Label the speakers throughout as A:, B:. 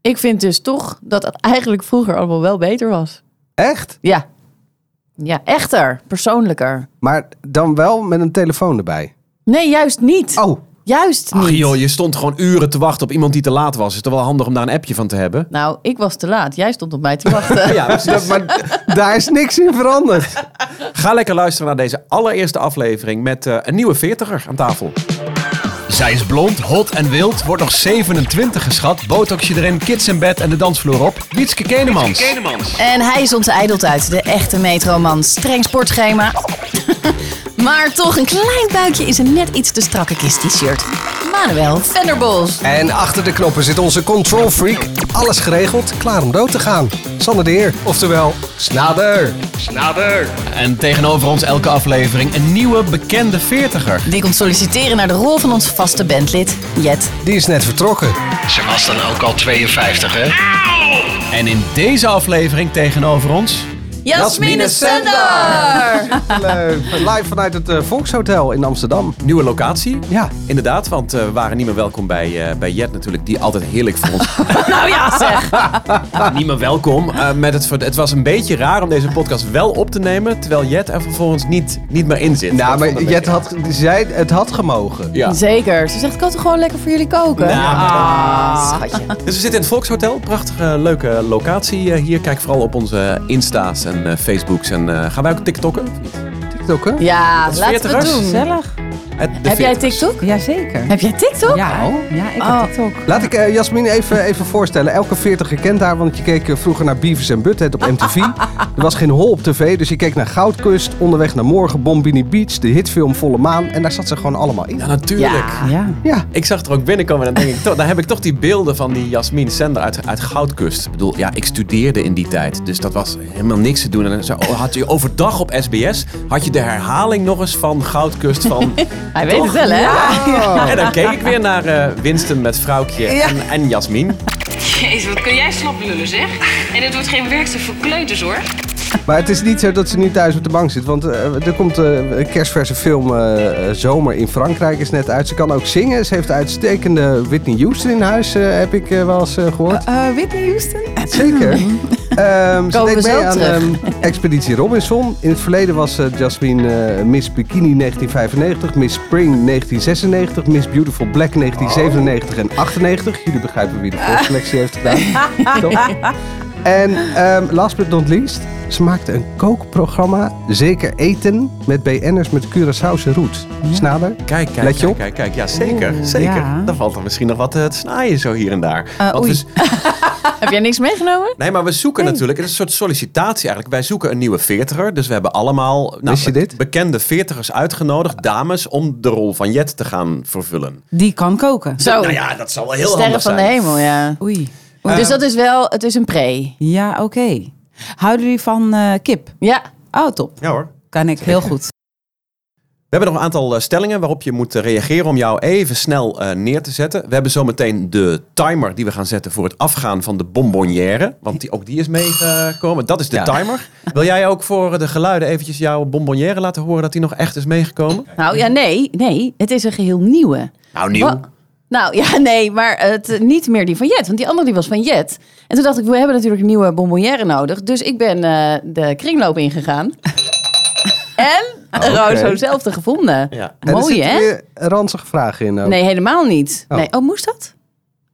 A: Ik vind dus toch dat het eigenlijk vroeger allemaal wel beter was.
B: Echt?
A: Ja. Ja, echter. Persoonlijker.
B: Maar dan wel met een telefoon erbij.
A: Nee, juist niet.
B: Oh,
A: Juist niet.
C: Ach joh, je stond gewoon uren te wachten op iemand die te laat was. Is toch wel handig om daar een appje van te hebben?
A: Nou, ik was te laat. Jij stond op mij te wachten.
C: Ja, precies.
B: dat, maar daar is niks in veranderd.
C: Ga lekker luisteren naar deze allereerste aflevering met eh, een nieuwe veertiger aan tafel.
D: Zij is blond, hot en wild, wordt nog 27 geschat, botoxje erin, kids in bed en de dansvloer op. Wietske Kenemans.
E: En hij is onze ijdeltuit, de echte metroman. Streng sportschema. maar toch, een klein buikje is een net iets te strakke kist t-shirt. Manuel Venderbos.
B: En achter de knoppen zit onze control freak. Alles geregeld, klaar om dood te gaan. Sander de Heer, oftewel Snader.
D: En tegenover ons elke aflevering een nieuwe bekende veertiger.
E: Die komt solliciteren naar de rol van ons vaste bandlid, Jet.
B: Die is net vertrokken.
D: Ze was dan ook al 52, hè? En in deze aflevering tegenover ons...
E: Jasmine Sender!
B: Leuk. Live vanuit het eh, Volkshotel in Amsterdam.
C: Nieuwe locatie?
B: Ja.
C: Inderdaad, want eh, we waren niet meer welkom bij, eh, bij Jet natuurlijk, die altijd heerlijk voor ons.
E: nou ja, zeg.
C: niet meer welkom. eh, met het, ver- het was een beetje raar om deze podcast wel op te nemen, terwijl Jet er vervolgens niet, niet meer in zit.
B: Nou,
C: Dat vond
B: maar
C: ik
B: Jet
C: een
B: had, zei, het had gemogen.
C: beetje- Ja.
A: Zeker. Ze zegt, ik kan toch gewoon lekker voor jullie koken?
C: Nou,
E: Schatje.
C: Dus we zitten in het Volkshotel. Prachtige, leuke locatie eh, hier. Kijk vooral op onze Insta's en eh, Facebooks. En eh, gaan wij ook TikTokken? of niet?
B: TikTok, hè?
A: Ja,
C: is
A: laten we het
C: veertigers.
A: doen.
F: Gezellig.
C: Het- de Hm?
A: Heb jij
C: veertigers.
A: TikTok?
F: Mm. Jazeker.
A: Heb jij TikTok?
F: Ja, ja, ik
A: Oh.
F: heb TikTok.
B: Laat ik eh, Jasmin even, even voorstellen. Elke 40 kent haar, want je keek eh, vroeger naar Beavis en Butthead op MTV. er was geen hol op tv, dus je keek naar Goudkust, Onderweg naar Morgen, Bombini Beach, de hitfilm Volle Maan. En daar zat ze gewoon allemaal in.
C: Ja, natuurlijk.
A: Ja.
F: Ja.
B: Ja,
C: Ik zag er ook binnenkomen en dan denk ik, toch, daar heb ik toch die beelden van die Jasmin Sender uit, uit Goudkust. Ik bedoel, ja, ik studeerde in die tijd, dus dat was helemaal niks te doen. En dan zo, oh, had je overdag op SBS, had je de herhaling nog eens van Goudkust van...
A: Hij weet het wel, hè?
C: En dan keek ik weer naar eh, Winston met Vrouwkje en, en Jasmin.
G: Jezus, wat kun jij slap lullen, zeg. En het wordt geen werkster voor kleuters, hoor.
B: maar het is niet zo dat ze nu thuis op de bank zit. Want eh, er komt eh, een kerstverse film eh, eh, Zomer in Frankrijk is net uit. Ze kan ook zingen. Ze heeft uitstekende Whitney Houston in huis, eh, heb ik eh, wel eens eh, gehoord.
F: Whitney Houston?
B: Zeker. Ehm ze
A: Komen
B: deed
A: we
B: mee
A: zo
B: aan
A: terug.
B: ehm, Expeditie Robinson. In het verleden was eh, Jasmine eh, Miss Bikini 1995, Miss Spring 1996, Miss Beautiful Black 1997 en 98. Jullie begrijpen wie de voorselectie heeft gedaan. Toch? En ehm, last but not least, ze maakte een kookprogramma, zeker eten, met BN'ers met Curaçaose roots. Snader?
C: Kijk, kijk,
B: Let je
C: kijk,
B: op?
C: kijk, kijk. Ja, zeker, zeker.
F: ja.
C: Dan valt er misschien nog wat eh, te snaaien zo hier en daar. Want we, s-
A: Heb jij niks meegenomen?
C: nee, maar we zoeken natuurlijk, het is een soort sollicitatie eigenlijk. Wij zoeken een nieuwe veertiger, dus we hebben allemaal nou,
B: Wist je dit?
C: bekende veertigers uitgenodigd, dames, om de rol van Jet te gaan vervullen.
F: Die kan koken.
A: Zo,
C: Nou ja, dat zal wel heel
A: Oh. sterren
C: handig
A: van de
C: zijn. Ehm.
A: hemel, ja.
F: Oei.
A: dus dat is wel, het is een pre.
F: Ja, oké. Houden jullie van eh, kip?
A: Ja.
F: Oh, top.
C: Ja hoor.
F: Kan ik heel goed.
C: We hebben nog een aantal eh, stellingen waarop je moet eh, reageren om jou even snel eh, neer te zetten. We hebben zometeen de timer die we gaan zetten voor het afgaan van de bonbonnière. Want die, ook die is meegekomen. Dat is de
B: Ja.
C: timer. Wil jij ook voor de geluiden eventjes jouw bonbonnière laten horen dat die nog echt is meegekomen?
A: Nou ja, nee, nee. Het is een geheel nieuwe.
C: Nou,
A: Wa- Nou ja, nee, maar het, eh, niet meer die van Jet. Want die andere die was van Jet. En toen dacht ik, we hebben natuurlijk een nieuwe bonbonnière nodig. Dus ik ben eh, de kringloop ingegaan. en
B: oké.
A: Roos heeft zelf te gevonden.
C: Ah, Ja.
B: En er
A: Mooi,
B: zitten
A: hè?
B: weer ranzige vragen in. ook.
A: Nee, helemaal niet.
B: Oh.
A: Nee. oh moest dat?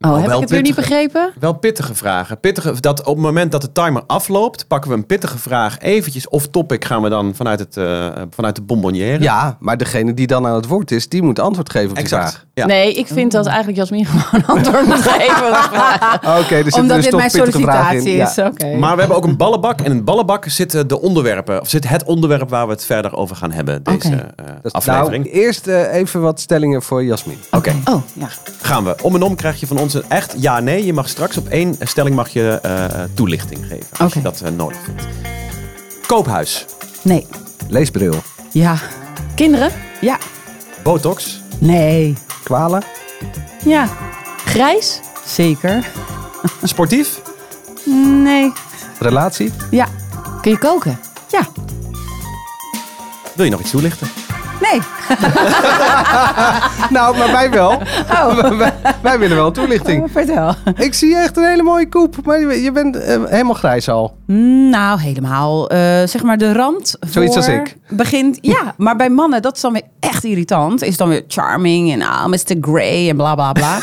A: Oh, heb
C: Oh. wel
A: ik het weer niet
C: pittig.
A: begrepen?
C: Wel pittige vragen. Pittige, dat op het moment dat de timer afloopt, pakken we een pittige vraag eventjes off topic. Gaan we dan vanuit, het, eh, vanuit de bonbonnière.
B: Ja, maar degene die dan aan het woord is, die moet antwoord geven op die
C: exact. Ja.
A: Nee, ik vind dat eigenlijk Jasmin gewoon antwoord moet geven. op de vraag.
B: vraag. Oké, dus er
F: Omdat
B: dus
F: dit
B: toch
F: mijn
B: pittige vragen in.
F: sollicitatie
B: Ja.
F: is. Oké.
C: Maar we hebben ook een ballenbak. En in het ballenbak zitten de onderwerpen. Of zit het onderwerp waar we het verder over gaan hebben. Deze eh,
B: Dat is-
C: aflevering.
B: Nou, eerst eh, even wat stellingen voor Jasmin.
C: Oké,
A: Oh, ja.
C: gaan we. Om en om krijg je van ons een echt ja-nee. Je mag straks op één stelling mag je eh, toelichting geven. Als je
F: Oké.
C: dat eh, nodig vindt. Koophuis.
F: Nee.
B: Leesbril.
F: Ja.
A: Kinderen?
F: Ja.
C: Botox.
F: Nee.
B: Kwalen.
F: Ja.
A: Grijs?
F: Zeker.
C: Sportief.
F: Nee.
B: Relatie.
F: Ja.
A: Kun je koken?
F: Ja.
C: Wil je nog iets toelichten?
F: Nee.
B: nou, maar wij wel. wij, wij willen wel toelichting.
F: Oh, Vertel.
B: Ik zie echt een hele mooie koep, maar je, je bent eh, helemaal grijs al.
F: Mm, Nou, helemaal. eh, zeg maar de rand.
B: Zoiets
F: voor
B: als ik.
F: Begint, ja, maar bij mannen, dat is dan weer echt irritant. Is dan weer charming en ah, Mr. Grey en bla bla bla.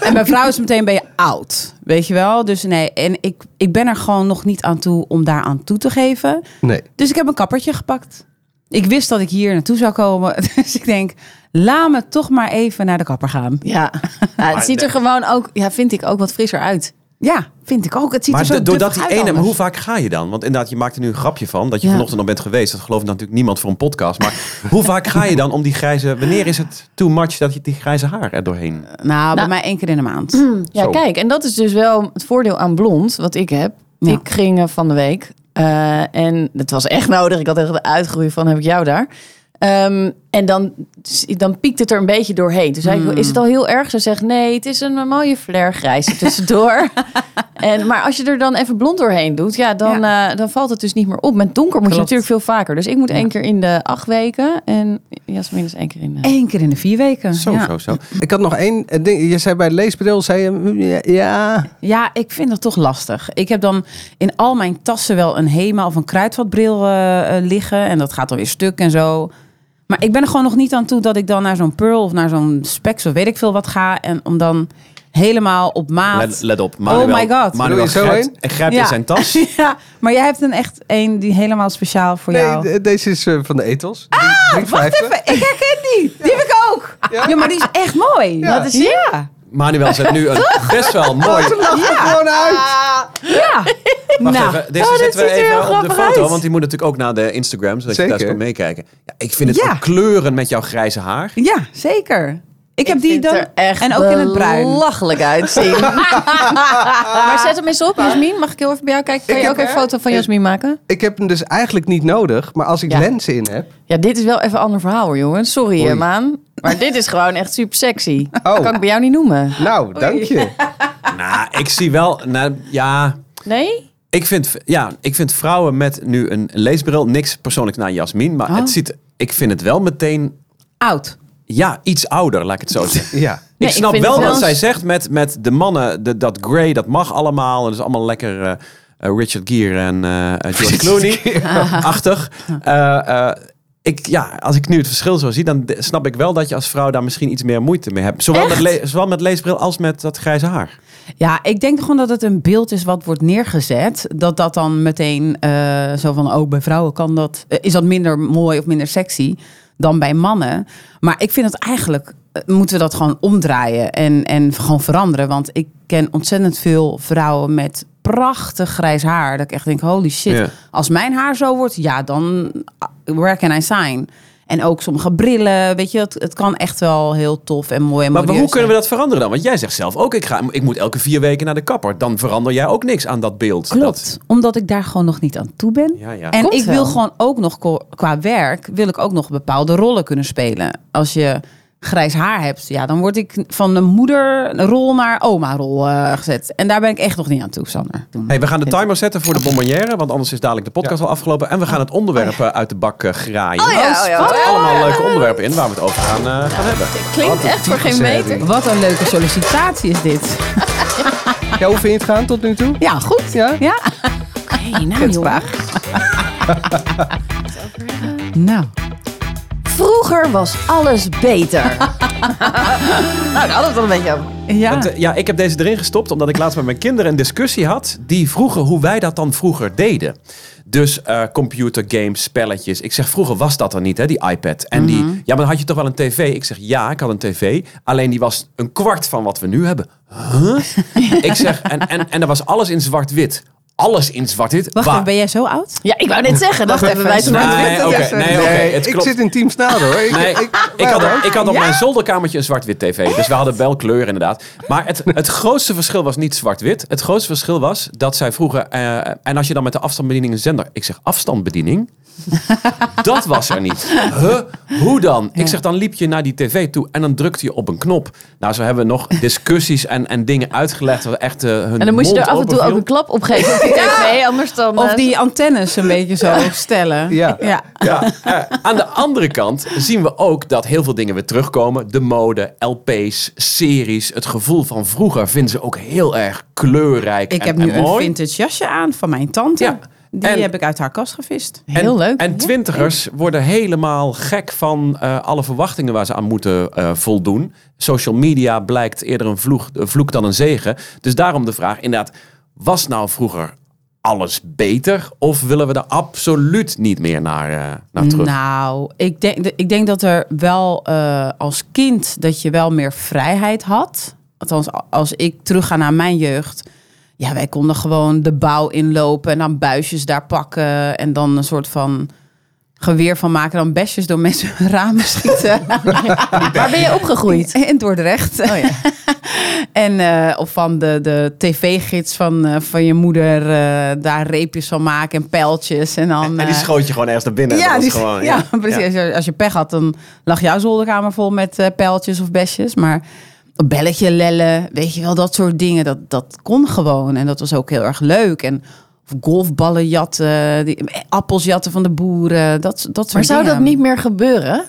F: en bij vrouwen is meteen ben je oud. Weet je wel? Dus nee, en ik, ik ben er gewoon nog niet aan toe om daar aan toe te geven.
B: Nee.
F: Dus ik heb een kappertje gepakt. Ik wist dat ik hier naartoe zou komen. Dus ik denk, laat me toch maar even naar de kapper gaan.
A: Ja. Ja, het ziet er gewoon ook, ja, vind ik ook wat frisser uit.
F: Ja, vind ik ook. Het ziet
C: Maar
F: er zo
C: do- doordat die
F: duffig uit
C: ene, maar
F: anders.
C: hoe vaak ga je dan? Want inderdaad, je maakt er nu een grapje van dat je
A: Ja.
C: vanochtend al bent geweest. Dat gelooft natuurlijk niemand voor een podcast. Maar hoe vaak ga je dan om die grijze. Wanneer is het too much dat je die grijze haar er doorheen.
F: Nou, bij
A: Nou.
F: mij één keer in de maand.
A: Ja,
C: Zo.
A: kijk, en dat is dus wel het voordeel aan blond, wat ik heb.
F: Ja.
A: Ik ging eh, van de week eh, en het was echt nodig. Ik had echt de uitgroei van heb ik jou daar. Ehm, en dan, dan piekt het er een beetje doorheen. Toen zei ik, is het al heel erg? Ze zegt, nee, het is een mooie flair grijs er tussendoor. en, maar als je er dan even blond doorheen doet, ja, dan, eh, dan valt het dus niet meer op. Met donker moet je
F: Klopt.
A: natuurlijk veel vaker. Dus ik moet één keer in de acht weken en Jasmin is één keer in de...
F: Eén keer in de vier weken.
C: Zo,
F: ja.
C: zo, zo.
B: Ik had nog één eh, ding. Je zei bij het leesbril, zei je... mm, ja, Ja,
F: Ja, ik vind dat toch lastig. Ik heb dan in al mijn tassen wel een Hema of een kruidvatbril eh, eh, liggen. En dat gaat dan weer stuk en zo. Maar ik ben er gewoon nog niet aan toe dat ik dan naar zo'n Pearl of naar zo'n Specs of weet ik veel wat ga. En om dan helemaal op maat...
C: Let, let op. Manuel,
F: Ah. Oh my God.
C: Manuel
B: Doe je zo
C: grijpt,
B: heen?
C: en grijpt
F: Ja.
C: in zijn tas.
F: ja, maar jij hebt een echt één die helemaal speciaal voor jou...
B: nee, de- deze is eh, van de ethos. Ah,
F: Nou. Wacht even, ik herken die. Die heb ik ook. Ja, maar die is echt mooi. Ja. Dat is ja.
C: Manuel zet nu een best wel mooi.
B: Ze lacht er gewoon uit.
F: ja.
C: Wacht
F: Nou,
C: even, deze
F: oh, dit
C: zetten we
F: ziet er
C: even
F: heel
C: op de
F: grappig
C: foto,
F: uit.
C: want die moet natuurlijk ook naar de Instagram, zodat
B: Zeker.
C: je thuis kan meekijken. Ja, ik vind het
F: Ja.
C: van kleuren met jouw grijze haar.
F: Ja, zeker. Ik, heb die
A: vind
F: dan
A: er echt
F: en ook in het bruin.
A: belachelijk uitzien. maar zet hem eens op, Jasmin. Mag ik heel even bij jou kijken? Kan
B: Ik
A: je
B: heb
A: ook even een
B: er-
A: foto van Jasmin maken?
B: Ik heb hem dus eigenlijk niet nodig. Maar als ik
A: Ja.
B: lenzen in heb...
A: Ja, dit is wel even een ander verhaal, hoor, jongen. Sorry,
B: Oei.
A: eh, Maan. Maar dit is gewoon echt super sexy.
B: Oh.
A: Dat kan ik bij jou niet noemen.
B: Nou, dank je.
C: Nou, ik zie wel, nou, ja,
A: Nee?
C: ik vind, ja, ik vind vrouwen met nu een leesbril niks persoonlijks naar Jasmin, maar
A: Oh.
C: het ziet, ik vind het wel meteen,
F: Oud.
C: ja, iets ouder, laat ik het zo zeggen.
B: Ja.
A: Nee,
C: ik
A: ik
C: snap
A: vind
C: wel
A: het
C: wat
A: wel
C: zij
A: eens-
C: zegt met, met de mannen, de, dat grey, dat mag allemaal. En dat is allemaal lekker eh, eh, Richard Gere en eh, eh, George Clooney-achtig. Eh, eh, ik, ja, als ik nu het verschil zo zie, dan de- snap ik wel dat je als vrouw daar misschien iets meer moeite mee hebt. Zowel, met, le- zowel met leesbril als met dat grijze haar.
F: Ja, ik denk gewoon dat het een beeld is wat wordt neergezet. Dat dat dan meteen eh, zo van, oh, bij vrouwen kan dat, eh, is dat minder mooi of minder sexy dan bij mannen. Maar ik vind dat eigenlijk, eh, moeten we dat gewoon omdraaien en, en gewoon veranderen. Want ik ken ontzettend veel vrouwen met prachtig grijs haar. Dat ik echt denk, holy shit,
C: Ja.
F: als mijn haar zo wordt, ja, dan ah, where can I sign? En ook sommige brillen, weet je, het, het kan echt wel heel tof en mooi en
C: Maar, hoe
F: modieus
C: kunnen
F: zijn.
C: we dat veranderen dan? Want jij zegt zelf ook, ik, ga, ik moet elke vier weken naar de kapper. Dan verander jij ook niks aan dat beeld.
F: Klopt,
C: Dat-
F: omdat ik daar gewoon nog niet aan toe ben.
C: Ja, ja.
F: En
A: Komt
F: ik wil
A: wel.
F: gewoon ook nog ko- qua werk, wil ik ook nog bepaalde rollen kunnen spelen. Als je grijs haar hebt, ja, dan word ik van een moederrol naar oma-rol eh, gezet. En daar ben ik echt nog niet aan toe, Sander.
C: Hey, we gaan de timer zetten voor de bonbonnière, want anders is dadelijk de podcast al afgelopen. En we gaan het onderwerp eh, uit de bak eh, graaien.
A: Oh ja, oh ja,
C: Er zitten
A: oh ja.
C: allemaal leuke onderwerpen in waar we het over gaan, eh, gaan hebben.
A: Klinkt echt voor geen meter.
F: Wat een leuke sollicitatie is dit.
B: Ja, hoe vind je het gaan tot nu toe?
F: Ja, goed.
B: Ja?
F: Ja?
A: Hey, nou, joh.
F: Kutvraag. nou,
A: Vroeger was alles beter. nou, daar hadden we het al een beetje over.
F: ja.
C: Want, eh, ja, ik heb deze erin gestopt omdat ik laatst met mijn kinderen een discussie had. Die vroegen hoe wij dat dan vroeger deden. Dus eh computergames, spelletjes. Ik zeg, vroeger was dat er niet, hè, die iPad. En die,
F: Mhm.
C: ja, maar dan had je toch wel een tv? Ik zeg, ja, ik had een tv. Alleen die was een kwart van wat we nu hebben. Huh? ik zeg, en, en, en er was alles in zwart-wit. Alles in zwart-wit.
F: Wacht
C: Waar-
F: even, ben jij zo oud?
A: Ja, ik wou net zeggen. Dacht even, wij toen
C: Nee, oké, nee, oké, het
B: ik
C: klopt.
B: zit in Team Snader hoor. Ik,
C: Nee,
B: ik,
C: ik,
B: wel,
C: had,
B: hoor.
C: op- ik had op mijn zolderkamertje een zwart-wit tv. Dus we hadden wel kleur inderdaad. Maar het, het grootste verschil was niet zwart-wit. Het grootste verschil was dat zij vroeger... eh, en als je dan met de afstandsbediening een zender... Ik zeg afstandsbediening. Dat was er niet. Huh? Hoe dan? Ik zeg, dan liep je naar die tv toe en dan drukte je op een knop. Nou, zo hebben we nog discussies en, en dingen uitgelegd. Wat echt, eh, hun
A: En dan moest je
C: mond
A: er af en toe ook
C: openviel.
A: een klap op geven op die tv, anders dan...
F: Of
A: eh,
F: die antennes een beetje zo stellen.
B: Ja.
F: ja.
C: Ja. Eh, aan de andere kant zien we ook dat heel veel dingen weer terugkomen. De mode, LP's, series. Het gevoel van vroeger vinden ze ook heel erg kleurrijk
F: Ik
C: en,
F: heb
C: en
F: nu een
C: mooi.
F: vintage jasje aan van mijn tante.
C: Ja.
F: Die
C: En-
F: heb ik uit haar kast gevist.
C: En-
A: Heel leuk.
C: En twintigers worden helemaal gek van eh, alle verwachtingen waar ze aan moeten eh, voldoen. Social media blijkt eerder een vloeg- een vloek dan een zegen. Dus daarom de vraag, inderdaad, was nou vroeger alles beter? Of willen we er absoluut niet meer naar, eh, naar terug?
F: Nou, ik denk, ik denk dat er wel eh, als kind dat je wel meer vrijheid had. Althans, als ik terugga naar mijn jeugd. Ja, wij konden gewoon de bouw inlopen en dan buisjes daar pakken. En dan een soort van geweer van maken. Dan besjes door mensen hun ramen schieten.
A: Waar ben je opgegroeid?
F: In Dordrecht. en eh, of van de, de tv-gids van, eh, van je moeder eh, daar reepjes van maken en pijltjes. En, dan,
C: en die
F: eh,
C: schoot je gewoon ergens naar binnen. en dat
F: ja,
C: was
F: die-
C: gewoon,
F: ja, precies. Als je- Als je pech had, dan lag jouw zolderkamer vol met eh pijltjes of besjes. Maar een belletje lellen, weet je wel, dat soort dingen, dat, dat kon gewoon. En dat was ook heel erg leuk. En of golfballen jatten, die, eh, appels jatten van de boeren, dat, dat soort dingen.
A: Maar zou dat niet meer gebeuren?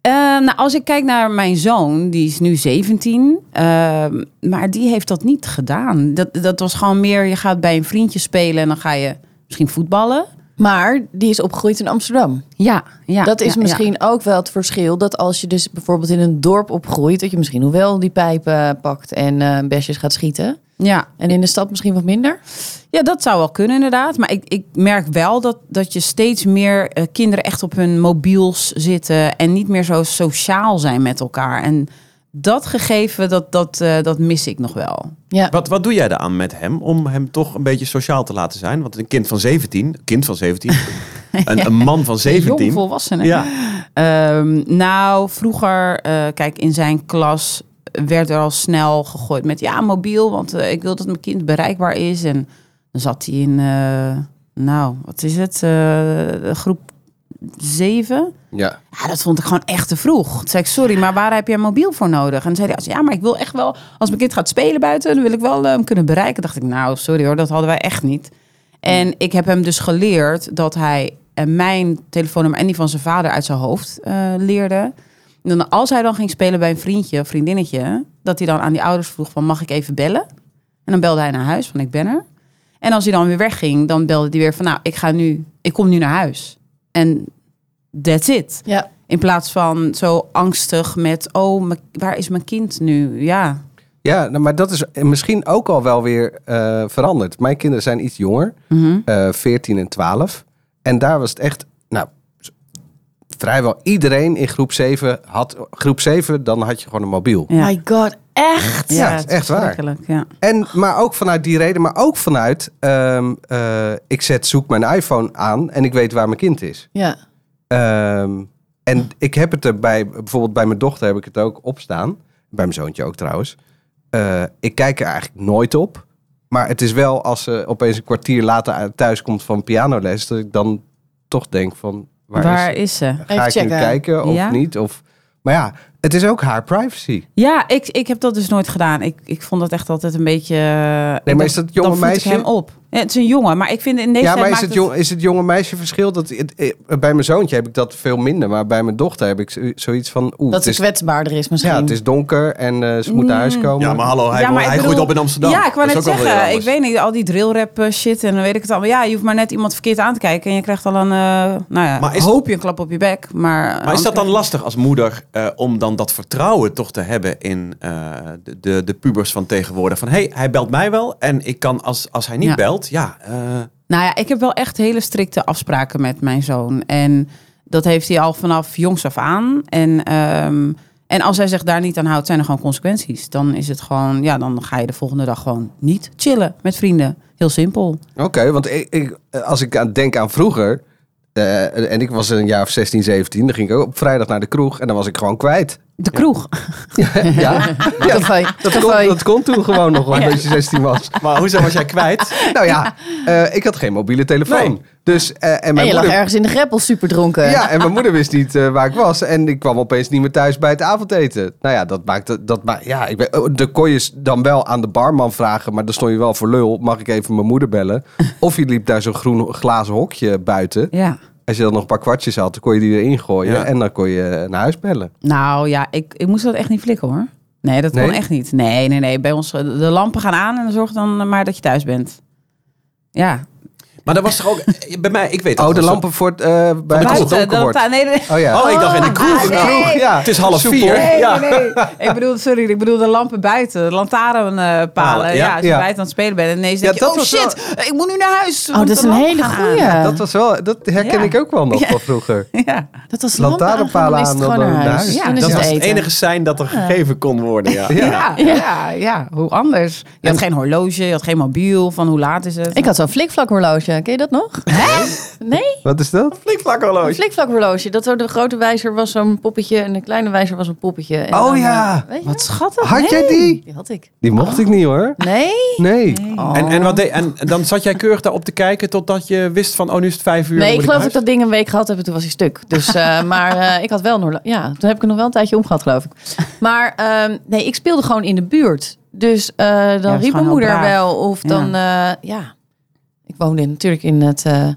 F: Eh, nou, als ik kijk naar mijn zoon, die is nu 17, ehm, maar die heeft dat niet gedaan. Dat, dat was gewoon meer, je gaat bij een vriendje spelen en dan ga je misschien voetballen.
A: Maar die is opgegroeid in Amsterdam.
F: Ja, ja.
A: dat is
F: ja, ja.
A: misschien ook wel het verschil. Dat als je dus bijvoorbeeld in een dorp opgroeit, dat je misschien nog wel die pijpen pakt en eh besjes gaat schieten.
F: Ja.
A: En in de stad misschien wat minder.
F: Ja, dat zou wel kunnen inderdaad. Maar ik, ik merk wel dat, dat je steeds meer eh, kinderen echt op hun mobiels zitten en niet meer zo sociaal zijn met elkaar. En dat gegeven, dat, dat, eh, dat mis ik nog wel.
A: Ja.
C: Wat, wat doe jij eraan met hem om hem toch een beetje sociaal te laten zijn? Want een kind van 17, kind van 17, een, een man van 17.
F: Jong volwassenen.
C: Ja,
F: Ehm, nou, vroeger, eh, kijk, in zijn klas werd er al snel gegooid met ja, mobiel, want eh, ik wil dat mijn kind bereikbaar is. En dan zat hij in, eh, nou, wat is het, eh, groep 7.
B: Ja.
F: Ja, dat vond ik gewoon echt te vroeg. Toen zei ik, sorry, maar waar heb jij een mobiel voor nodig? En toen zei hij, ja, maar ik wil echt wel... Als mijn kind gaat spelen buiten, dan wil ik wel eh, hem kunnen bereiken. dacht ik, nou, sorry hoor, dat hadden wij echt niet. En ik heb hem dus geleerd dat hij eh, mijn telefoonnummer... en die van zijn vader uit zijn hoofd eh, leerde. En dan, als hij dan ging spelen bij een vriendje of vriendinnetje... dat hij dan aan die ouders vroeg van, mag ik even bellen? En dan belde hij naar huis van, ik ben er. En als hij dan weer wegging, dan belde hij weer van... nou, ik, ga nu, ik kom nu naar huis. En that's it.
A: ja.
F: In plaats van zo angstig met, oh, mijn- waar is mijn kind nu? Ja.
B: Ja, nou, maar dat is misschien ook al wel weer eh, veranderd. Mijn kinderen zijn iets jonger, eh, 14 en 12. En daar was het echt, nou, z- vrijwel iedereen in groep 7 had groep 7, dan had je gewoon een mobiel.
F: Ja.
A: My god, echt?
B: Ja,
F: het
B: is echt waar.
F: verschrikkelijk, Ja.
B: En, maar ook vanuit die reden, maar ook vanuit, ehm, eh, ik zet zoek mijn iPhone aan en ik weet waar mijn kind is.
A: Ja.
B: Ehm, en ik heb het er bij, bijvoorbeeld bij mijn dochter heb ik het ook opstaan. Bij mijn zoontje ook trouwens. Eh, ik kijk er eigenlijk nooit op. Maar het is wel als ze opeens een kwartier later uit- thuis komt van pianoles, dat ik dan toch denk van waar,
F: Waar,
B: is
F: is ze?
B: ze? Ga ik
A: Even
B: nu
A: checken.
B: kijken of
F: Ja.
B: niet? Of, maar ja, het is ook haar privacy.
F: Ja, ik, ik heb dat dus nooit gedaan. Ik, ik vond dat echt altijd een beetje...
B: Nee, maar is dat jonge
F: dan voed
B: meisje?
F: ik hem op. Ja, het is een jongen, maar ik vind in deze
B: Ja,
F: tijd
B: maar is
F: maakt
B: het, jong, is het jonge meisje verschil? Dat, het- eh, bij mijn zoontje heb ik dat veel minder. Maar bij mijn dochter heb ik zo- zoiets van... Oeh,
A: Dat
B: het
A: ze
B: is,
A: kwetsbaarder is misschien.
B: ja, het is donker en eh, ze moet naar huis komen.
C: ja maar hallo, hij,
F: Ja, maar
C: hij
F: ik
C: groeit
F: bedoel-
C: op in Amsterdam.
F: Ja, ik wou
C: Dat
F: net
C: is ook wel weer
F: zeggen. Ik
C: anders.
F: weet niet, al die drillrap eh, shit en dan weet ik het allemaal. Ja, je hoeft maar net iemand verkeerd aan te kijken en je krijgt al een, eh, nou ja,
C: Maar is-
F: hoop je een klap op je bek. Maar,
C: Maar is
F: anders-
C: dat dan lastig als moeder eh, om dan dat vertrouwen toch te hebben in eh, de, de, de pubers van tegenwoordig? Van hé, hey, hij belt mij wel en ik kan als, als hij niet
F: Ja.
C: belt, ja. eh,
F: Nou ja, ik heb wel echt hele strikte afspraken met mijn zoon. En dat heeft hij al vanaf jongs af aan. En, ehm, en als hij zich daar niet aan houdt, zijn er gewoon consequenties. Dan is het gewoon, ja, dan ga je de volgende dag gewoon niet chillen met vrienden. Heel simpel.
B: Oké, want ik, ik, eh, als ik aan, denk aan vroeger... eh, en ik was een jaar of 16, 17... dan ging ik ook op vrijdag naar de kroeg en dan was ik gewoon kwijt.
F: De kroeg.
B: Ja, ja dat, kon, dat kon toen gewoon nog wel, als je 16 was.
C: Maar hoezo was jij kwijt?
B: Nou ja, eh, ik had geen mobiele telefoon.
C: Nee.
B: Dus, eh, en
A: En
B: mijn
A: je lag
B: moeder,
A: ergens in de greppel super dronken.
B: Ja, en mijn moeder wist niet eh, waar ik was. En ik kwam opeens niet meer thuis bij het avondeten. Nou ja, dat maakte. Dat ma ja, ik ben, oh, dan kon je s- dan wel aan de barman vragen. Maar dan stond je wel voor lul. Mag ik even mijn moeder bellen? Of je liep daar zo'n groen glazen hokje buiten.
F: Ja.
B: Als je dan nog een paar kwartjes had, dan kon je die erin gooien.
C: Ja.
B: En dan kon je naar huis bellen.
F: Nou ja, ik, ik moest dat echt niet flikken hoor. Nee, dat kon
B: Nee?
F: echt niet. Nee, nee, nee. Bij ons, eh, de lampen gaan aan en zorg dan eh, maar dat je thuis bent. Ja.
C: Maar dat was toch ook... Bij mij, ik weet dat
B: Oh, de
C: was zo-
B: lampen voor het, eh, bij het
F: Buiten,
B: donker
F: dat-
B: wordt.
F: nee, nee,
B: Oh ja.
C: Oh, ik dacht in de kroeg.
F: Ah,
B: De kroeg, ja.
C: Het is half
B: Soepel.
C: vier.
F: Nee,
C: ja.
F: nee, nee. Ik bedoel, sorry, ik bedoel de lampen buiten, de lantaarnpalen.
C: Palen, ja,
F: ja, als je
B: ja.
F: buiten aan het spelen bent en ineens
B: Ja,
F: denk je,
B: dat
F: oh
B: was
F: shit, ik moet nu naar huis.
A: Oh, dat is een hele
F: goede.
A: goeie.
B: Dat was wel, dat herken
F: Ja.
B: ik ook wel nog van vroeger.
F: Ja.
A: Dat was
B: Lantaarnpalen
A: lantaarnpalen aan, dan
B: aan,
A: is het gewoon
B: dan
A: naar
B: naar
A: huis.
B: huis.
A: Ja,
B: Ja,
A: dat
C: Dat
A: is
C: was
A: het
C: het
A: Dus eten.
C: enige sein dat er gegeven kon worden, ja.
F: Ja, ja, ja, Hoe anders? Je had geen horloge, je had geen mobiel. Van hoe laat is het?
A: Ik had zo'n flikvlak horloge. Ken je dat nog? Nee?
B: Wat is dat?
C: Flikvlak
A: Een
C: horloge.
A: flikvlak horloge. Dat zo de grote wijzer was zo'n poppetje en de kleine wijzer was een poppetje. En
B: Oh
A: dan,
B: ja.
A: eh, weet je
F: Wat schattig.
B: Had jij
A: Die?
B: die?
A: Die had ik.
B: Die mocht ik niet hoor.
A: Nee?
B: Nee.
C: En, en, wat
A: Oh.
C: deed- en en dan zat jij keurig daarop te kijken totdat je wist van, oh nu is het vijf uur. dan
A: Nee, ik
C: moet
A: geloof dat
C: naar
A: ik dat ding een week gehad heb en toen was hij stuk. Dus, eh, maar eh, ik had wel een horlo- Ja, toen heb ik er nog wel een tijdje om gehad, geloof ik. Maar ehm, nee, ik speelde gewoon in de buurt. Dus eh, dan
F: dat is
A: riep mijn
F: gewoon
A: moeder
F: heel braaf.
A: wel. Of dan, ja. ja. Ik woonde natuurlijk in het eh,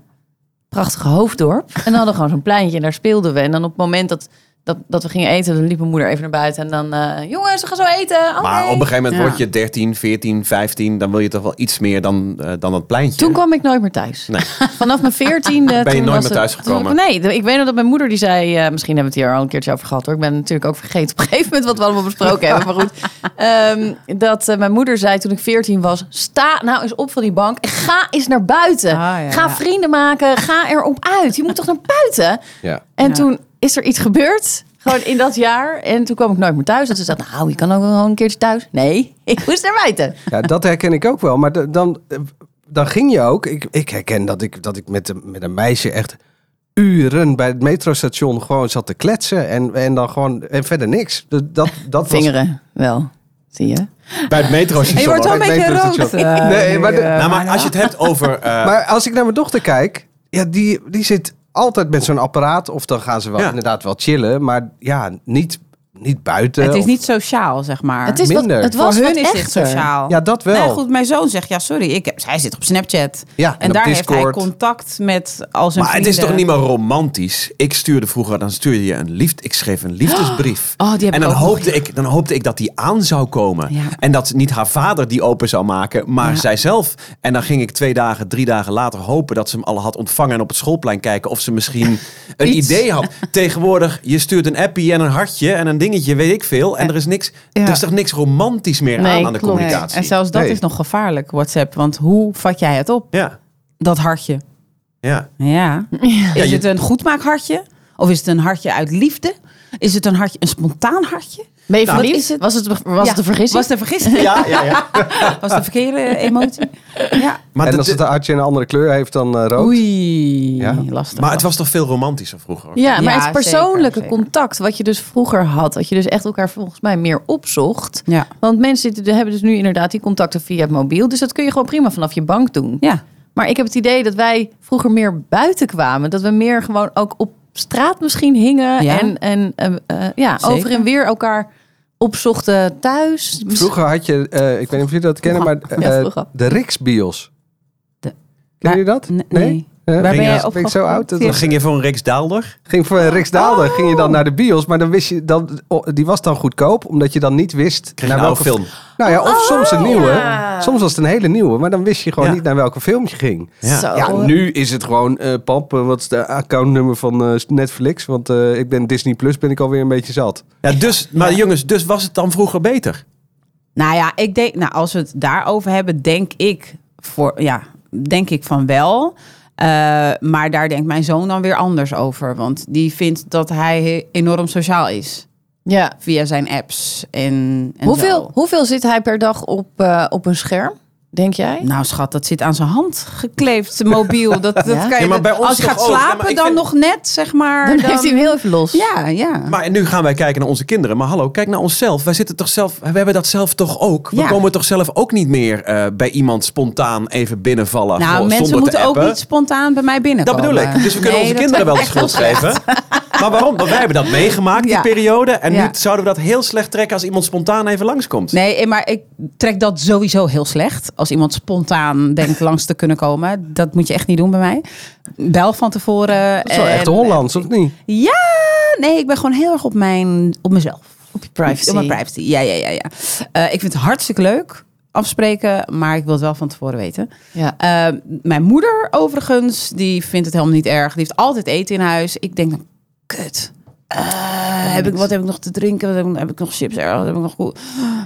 A: prachtige hoofddorp. En dan hadden we gewoon zo'n pleintje en daar speelden we. En dan op het moment dat, dat, dat we gingen eten, dan liep mijn moeder even naar buiten. En dan, eh, jongens, we gaan zo eten. Oh,
C: Maar
A: nee.
C: op een gegeven moment
F: Ja.
C: word je 13, 14, 15. Dan wil je toch wel iets meer dan, eh, dan dat pleintje.
A: Toen kwam ik nooit meer thuis.
C: Nee.
A: Vanaf mijn veertiende.
C: je nooit meer thuis gekomen?
A: Nee, de- ik weet nog dat mijn moeder die zei... eh, misschien hebben we het hier al een keertje over gehad hoor. Ik ben natuurlijk ook vergeten op een gegeven moment wat we allemaal besproken hebben. Maar goed, Ehm, dat eh, mijn moeder zei toen ik veertien was... sta nou eens op van die bank en ga eens naar buiten.
F: Ah, ja,
A: ga
F: ja.
A: vrienden maken, ga erop uit. Je moet toch naar buiten?
B: Ja.
A: En
F: Ja.
A: toen is er iets gebeurd... Gewoon in dat jaar. En toen kwam ik nooit meer thuis. En ze zei, nou, je kan ook gewoon een keertje thuis. Nee, ik moest naar buiten.
B: Ja, dat herken ik ook wel. Maar da- dan, eh, dan ging je ook. Ik, ik herken dat ik, dat ik met, een- met een meisje echt uren bij het metrostation gewoon zat te kletsen. En, en dan gewoon. En verder niks. Dus Dat, dat was-
A: Vingeren wel, zie je.
C: Bij het metro
F: En je wordt wel een beetje rood. eh,
B: Nee, maar de-
F: eh,
C: Nou, maar als je het hebt over... eh,
B: Maar als ik naar mijn dochter kijk. Ja, die, die zit altijd met zo'n apparaat. Of dan gaan ze wel
C: Ja.
B: inderdaad wel chillen. Maar ja, niet, niet buiten.
F: Het is
B: of-
F: niet sociaal, zeg maar.
A: Het is wat-
B: Minder.
A: het was
F: Voor hun
A: wat
F: is dit
A: echter.
F: sociaal.
B: Ja, dat wel.
F: Nee, goed, mijn zoon zegt, ja, sorry, ik heb, hij zit op Snapchat.
B: Ja, en
F: en
B: op
F: daar heeft hij
B: Discord.
F: contact met al zijn
C: Maar het is toch
F: vrienden.
C: niet meer romantisch? Ik stuurde vroeger, dan stuurde je een liefde. Ik schreef een liefdesbrief.
F: Oh, die
C: en
F: heb ik
C: dan
F: ook nog,
C: hoopte ik, dan hoopte ik dat die aan zou komen.
F: Ja.
C: En dat niet haar vader die open zou maken, maar zijzelf. En dan ging ik twee dagen, drie dagen later hopen dat ze hem al had ontvangen en op het schoolplein kijken of ze misschien een
F: Iets.
C: idee had. Tegenwoordig, je stuurt een appie en een hartje en een dingetje, weet ik veel. En er is niks,
F: Ja.
C: er is toch niks romantisch meer
A: Nee,
C: aan aan de
A: klopt.
F: Nee,
C: communicatie.
F: En zelfs dat
B: Nee.
F: is nog gevaarlijk, WhatsApp. Want hoe vat jij het op,
C: Ja,
F: dat hartje?
C: ja.
F: Ja. Is
C: je-
F: het een goedmaakhartje? Of is het een hartje uit liefde? Is het een hartje, een spontaan hartje?
A: Ben je
F: Nou,
A: verliefd?
F: is het-
A: Was het, was
F: Ja,
A: het een vergissing?
F: Was de vergissing?
C: ja, ja, ja.
F: Was de verkeerde emotie? Ja.
C: Maar
B: en
C: dat-
B: als het een artje een andere kleur heeft dan eh, rood.
F: Oei,
B: Ja.
F: lastig.
C: maar het was toch veel romantischer vroeger?
A: Ja, maar
F: Ja,
A: het persoonlijke
F: zeker, zeker.
A: contact wat je dus vroeger had, dat je dus echt elkaar volgens mij meer opzocht.
F: Ja.
A: Want mensen zitten- hebben dus nu inderdaad die contacten via het mobiel, dus dat kun je gewoon prima vanaf je bank doen.
F: Ja.
A: Maar ik heb het idee dat wij vroeger meer buiten kwamen, dat we meer gewoon ook op straat misschien hingen
F: Ja.
A: en, en eh, eh, ja,
F: Zeker.
A: over en weer elkaar opzochten thuis.
B: Vroeger had je, eh, ik weet niet of jullie dat kennen, maar eh,
A: Ja, vroeger.
B: de Riksbios.
F: De-
B: Ken je dat?
F: Nee.
B: Huh?
F: Waar ben
C: je
B: Ben ik zo
F: opgegroeid?
B: oud? Dat
C: Dan
B: was-
C: ging je voor een reeks Daalder.
B: ging voor Riksdaalder, ging je dan naar de bios, maar dan wist je dan, oh, die was dan goedkoop, omdat je dan niet wist
C: Kreeg je een oude film.
B: Nou ja, of soms een nieuwe.
A: ja.
B: Soms was het een hele nieuwe, maar dan wist je gewoon
C: Ja.
B: niet naar welke film je ging.
C: Ja.
A: Zo.
B: Ja, nu is het gewoon, eh, pap, eh, wat is de accountnummer van eh, Netflix? Want eh, ik ben Disney Plus, ben ik alweer een beetje zat.
C: Ja, dus, maar jongens, dus was het dan vroeger beter?
F: Nou ja, ik denk, nou, als we het daarover hebben, denk ik, voor, ja, denk ik van wel. Eh, maar daar denkt mijn zoon dan weer anders over. Want die vindt dat hij he- enorm sociaal is.
A: Ja.
F: Via zijn apps en, en
A: Hoeveel,
F: zo.
A: hoeveel zit hij per dag op, eh, op een scherm? Denk jij?
F: Nou, schat, dat zit aan zijn hand gekleefd, zijn mobiel. Dat, dat
A: Ja?
F: kan je,
C: Ja, maar bij ons
F: als je
C: toch
F: gaat
C: ook. Ja, maar
F: slapen,
C: ik
F: dan
C: vind-
F: nog net, zeg maar.
A: Dan heeft hij hem heel even los.
F: Ja, ja.
C: Maar nu gaan wij kijken naar onze kinderen. Maar hallo, kijk naar onszelf. Wij zitten toch zelf. We hebben dat zelf toch ook. We
F: Ja.
C: komen toch zelf ook niet meer eh, bij iemand spontaan even binnenvallen.
F: nou,
C: gewoon
F: mensen
C: zonder te
F: moeten ook
C: appen.
F: niet spontaan bij mij
C: Dat
F: binnenkomen.
C: bedoel ik. Dus we kunnen
F: Nee,
C: onze
F: dat-
C: kinderen wel de schuld geven. Maar waarom? Want wij hebben dat meegemaakt, die
F: Ja.
C: periode. En
F: Ja.
C: nu zouden we dat heel slecht trekken als iemand spontaan even langskomt.
F: Nee, eh, maar ik trek dat sowieso heel slecht. Als iemand spontaan denkt langs te kunnen komen. Dat moet je echt niet doen bij mij. Bel van tevoren.
B: Dat is wel echt
F: en-
B: Hollands, of niet?
F: Ja, nee, ik ben gewoon heel erg op, mijn, op mezelf.
A: Op je privacy.
F: Op mijn privacy. Ja, ja, ja. ja. Eh, ik vind het hartstikke leuk afspreken, maar ik wil het wel van tevoren weten.
A: Ja.
F: Eh, mijn moeder overigens, die vindt het helemaal niet erg. Die heeft altijd eten in huis. Ik denk dan, kut. Eh, heb ik, wat heb ik nog te drinken? Wat heb, ik, heb ik nog chips? ergens? Wat heb ik nog goed?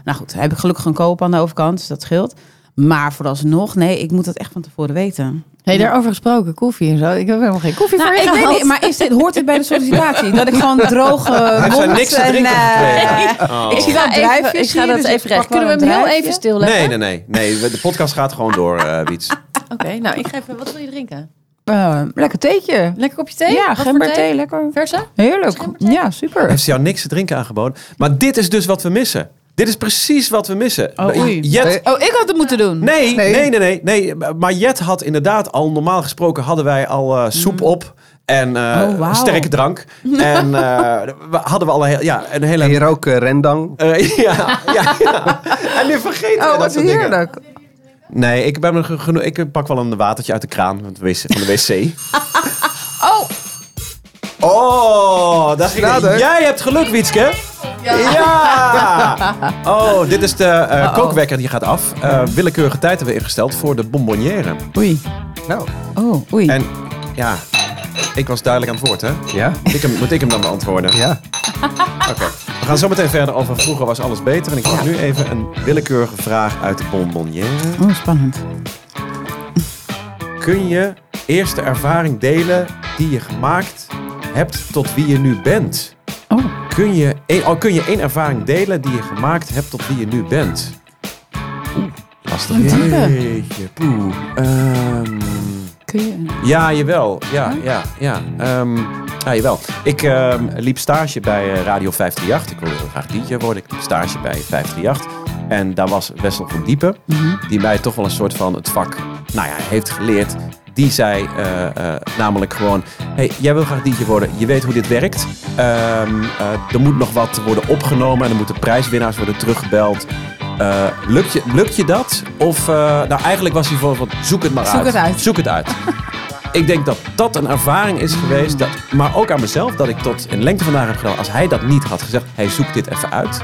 F: Nou goed, heb ik gelukkig een koop aan de overkant, dus dat scheelt. Maar vooralsnog, nee, ik moet dat echt van tevoren weten.
A: Hey, daarover gesproken, koffie en zo. Ik heb helemaal geen koffie
F: Nou,
A: voor je
F: ik weet
A: gehad.
F: niet, maar is dit, hoort dit bij de sollicitatie? Dat ik gewoon droge
C: Hij heeft
F: mond
C: zijn niks te
F: en,
C: drinken
F: eh,
C: gekregen. Oh.
F: Ik zie wel
A: ga even-
F: druifjes
A: ik ga
F: hier,
A: dat
F: dus
A: even
F: ik pak
A: recht. Kunnen we
F: wel
A: hem
F: een
A: heel
F: druifje.
A: even stilleggen?
C: Nee, nee, nee. nee. we- De podcast gaat gewoon door, eh Wiets.
A: Oké, nou, ik ga even... Wat wil je drinken?
F: Eh, lekker theetje.
A: Lekker kopje thee?
F: Ja,
A: Wat voor
F: gemberthee, lekker.
A: Verse?
F: Heerlijk.
A: Gemberthee?
F: Ja, super.
C: Heeft ze jou niks te drinken aangeboden? Maar dit is dus wat we missen. Dit is precies wat we missen.
F: Oh, oei.
C: Jet-
B: Nee.
F: Oh, ik had het moeten doen.
C: Nee,
B: Nee.
C: nee, nee, nee, nee, Maar Jet had inderdaad al, normaal gesproken hadden wij al eh, soep op. En eh,
F: Mm. Oh, wauw.
C: sterke drank. En eh, we- hadden we al een, heel- ja, een hele...
B: En hier ook eh, rendang.
C: Eh, ja, ja, ja. En nu vergeten we
F: Oh,
C: dat
F: wat
C: soort dingen.
F: heerlijk.
C: Nee, ik, ben nog geno- ik pak wel een watertje uit de kraan van de wc. Van de wc.
F: Oh,
C: Oh, daar ging
B: Snader.
C: Jij hebt geluk, Wietske. Ja. Oh, dit is de eh, kookwekker die gaat af. Eh, willekeurige tijd hebben we ingesteld voor de bonbonnière.
F: oei.
B: Nou,
F: Oh, oei.
C: En ja, ik was duidelijk aan het woord, hè?
B: ja.
C: Ik hem, moet ik hem dan beantwoorden?
B: Ja.
C: Oké. We gaan zo meteen verder over vroeger was alles beter. En ik pak nu even een willekeurige vraag uit de bonbonnière.
F: Oh, spannend.
C: Kun je eerste ervaring delen die je gemaakt hebt tot wie je nu bent?
F: Oh.
C: Kun je, één- al kun je één ervaring delen die je gemaakt hebt tot wie je nu bent? Oeh, lastig. Jeetje, poeh. Ehm,
F: Kun je...
C: ja, jawel. Ja, ja, ja. Ehm, ja, jawel. Ik ehm, liep stage bij eh, Radio 538. Ik wilde heel graag DJ worden. Ik liep stage bij 538. En daar was Wessel van Diepen,
F: Mhm.
C: die mij toch wel een soort van het vak nou ja, heeft geleerd. Die zei eh, eh, namelijk gewoon, hey, jij wil graag DJ worden. Je weet hoe dit werkt. Ehm, eh, er moet nog wat worden opgenomen en er moeten prijswinnaars worden teruggebeld. Eh, lukt, je, lukt je dat? Of, eh, nou eigenlijk was hij voor van, zoek het maar
F: Zoek het uit.
C: Zoek het uit. Ik denk dat dat een ervaring is geweest, dat, maar ook aan mezelf, dat ik tot in lengte vandaag heb gedaan. Als hij dat niet had gezegd, hij zoekt dit even uit.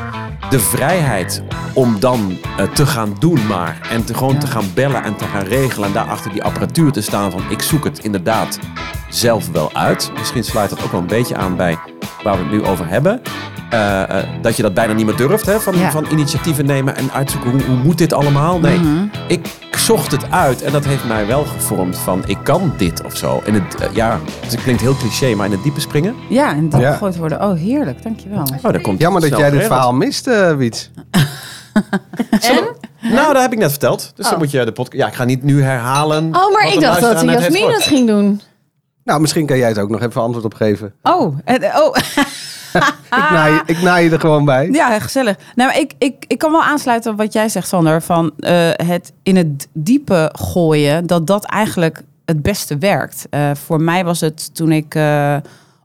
C: De vrijheid om dan eh, te gaan doen maar en te, gewoon te gaan bellen en te gaan regelen en daar achter die apparatuur te staan van ik zoek het inderdaad zelf wel uit. Misschien sluit dat ook wel een beetje aan bij waar we het nu over hebben. Eh, eh, dat je dat bijna niet meer durft, hè, van,
F: Ja.
C: van initiatieven nemen en uitzoeken hoe, hoe moet dit allemaal. Nee,
A: Mhm.
C: ik zocht het uit en dat heeft mij wel gevormd van ik kan dit of zo. En het, eh, ja, het klinkt heel cliché, maar in het diepe springen.
F: Ja, en dat
B: Ja.
F: gegooid worden. Oh, heerlijk. Dankjewel.
C: Oh, daar komt
B: Jammer dat
C: snel
B: jij dit
C: geregeld.
B: verhaal mist, eh Wiets.
A: En?
C: Nou, dat heb ik net verteld. Dus dan
A: Oh.
C: moet je de podcast. Ja, ik ga niet nu herhalen.
A: Oh, maar ik
C: wat de
A: dacht dat
C: luisteraar net heeft
A: Jasmin dat
C: gehoord.
A: ging doen.
B: Nou, misschien kan jij het ook nog even antwoord op geven.
F: Oh, en, oh.
B: Ik,
F: Ah.
B: nou, naai, ik naai je er gewoon bij.
F: Ja, gezellig. Nou, maar ik, ik, ik kan wel aansluiten op wat jij zegt, Sander. Van eh, het in het diepe gooien, dat dat eigenlijk het beste werkt. Eh, voor mij was het toen ik eh,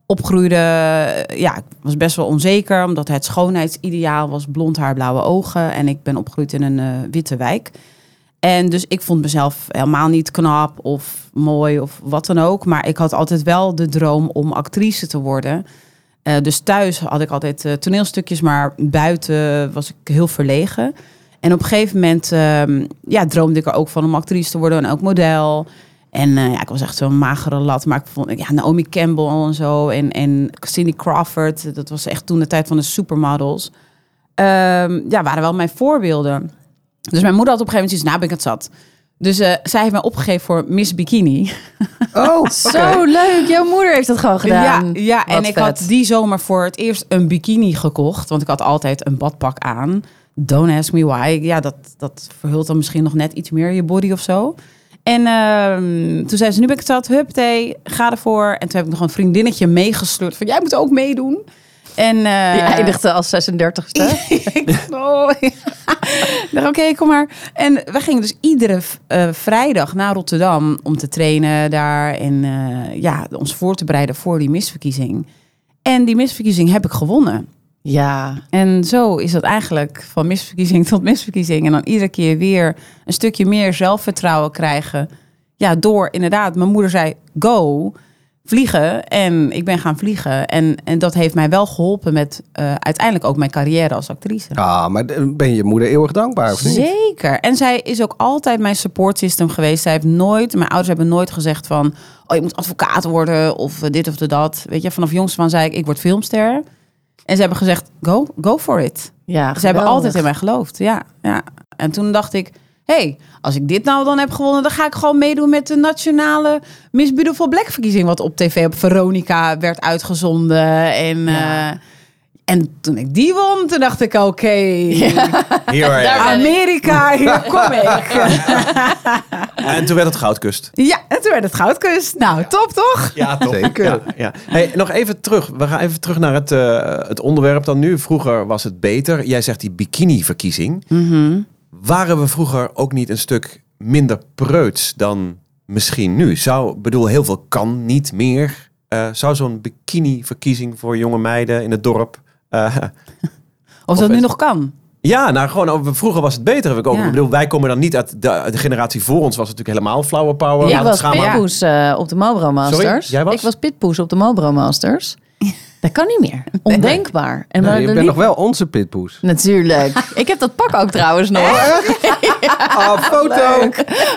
F: opgroeide, eh, ja, ik was best wel onzeker. Omdat het schoonheidsideaal was blond haar, blauwe ogen. En ik ben opgegroeid in een eh, witte wijk. En dus ik vond mezelf helemaal niet knap of mooi of wat dan ook. Maar ik had altijd wel de droom om actrice te worden. Eh, dus thuis had ik altijd eh, toneelstukjes, maar buiten was ik heel verlegen. En op een gegeven moment ehm, ja, droomde ik er ook van om actrice te worden en ook model. En eh, ja, ik was echt zo'n magere lat, maar ik vond ja, Naomi Campbell en zo en, en Cindy Crawford. Dat was echt toen de tijd van de supermodels. Ehm, ja, waren wel mijn voorbeelden. Dus mijn moeder had op een gegeven moment zoiets, nou ben ik het zat. Dus eh, zij heeft mij opgegeven voor Miss Bikini.
B: Oh, oké.
A: Zo leuk. Jouw moeder heeft dat gewoon gedaan.
F: Ja, ja
A: Wat
F: en ik
A: vet.
F: had die zomer voor het eerst een bikini gekocht. Want ik had altijd een badpak aan. Don't Ask Me Why. Ja, dat, dat verhult dan misschien nog net iets meer je body of zo. En ehm, toen zei ze, nu ben ik het zat. Huppatee, ga ervoor. En toen heb ik nog een vriendinnetje meegesleurd. Van, jij moet ook meedoen. En, eh,
A: Die eindigde als 36ste.
F: ik dacht, oh, ja. Ik dacht, oké, kom maar. En we gingen dus iedere eh, vrijdag naar Rotterdam om te trainen daar. En eh, ja, ons voor te bereiden voor die misverkiezing. En die misverkiezing heb ik gewonnen.
A: Ja.
F: En zo is dat eigenlijk van misverkiezing tot misverkiezing. En dan iedere keer weer een stukje meer zelfvertrouwen krijgen. Ja, door inderdaad, mijn moeder zei go, vliegen. En ik ben gaan vliegen. En, en dat heeft mij wel geholpen met eh, uiteindelijk ook mijn carrière als actrice.
B: Ah, maar d- ben je moeder eeuwig dankbaar of niet?
F: Zeker. En zij is ook altijd mijn support system geweest. Zij heeft nooit, mijn ouders hebben nooit gezegd van, oh je moet advocaat worden of eh, dit of dat. Weet je, vanaf jongs van zei ik, ik word filmster. En ze hebben gezegd, go, go for it.
A: Ja,
F: Ze hebben
A: geweldig.
F: altijd in mij geloofd. Ja, ja. En toen dacht ik, hé, hey, als ik dit nou dan heb gewonnen, dan ga ik gewoon meedoen met de nationale Miss Beautiful Black verkiezing. Wat op tv op Veronica werd uitgezonden. En, eh, en toen ik die won, toen dacht ik, oké,
C: Here I am.
F: Amerika, hier kom ik.
C: En toen werd het goudkust.
F: Ja, en toen werd het goudkust. Nou, top toch?
C: Ja, toch?
B: Zeker.
C: Ja, ja. Hey, nog even terug. We gaan even terug naar het, eh, het onderwerp dan nu. Vroeger was het beter. Jij zegt die bikini-verkiezing. Waren we vroeger ook niet een stuk minder preuts dan misschien nu? Zou, bedoel, heel veel kan niet meer. Eh, zou zo'n bikini-verkiezing voor jonge meiden in het dorp... eh,
F: Of, dat nu nog kan.
C: ja, nou gewoon, over- vroeger was het beter. Heb ik ook.
F: Ja.
C: Ik bedoel, wij komen dan niet uit de, de generatie voor ons, was het natuurlijk helemaal flower power.
A: Ik
C: Nou, dat
A: was
C: schaam aan.
A: pitpoes eh, op de Marlboro Masters.
C: jij was?
A: Ik was pitpoes op de Marlboro Masters. Dat kan niet meer. Ondenkbaar. En
B: Nee,
A: maar
B: je
A: er
B: bent nog
A: liep-
B: wel onze pitpoes.
A: Natuurlijk. ik heb dat pak ook trouwens nog.
B: Ah, foto!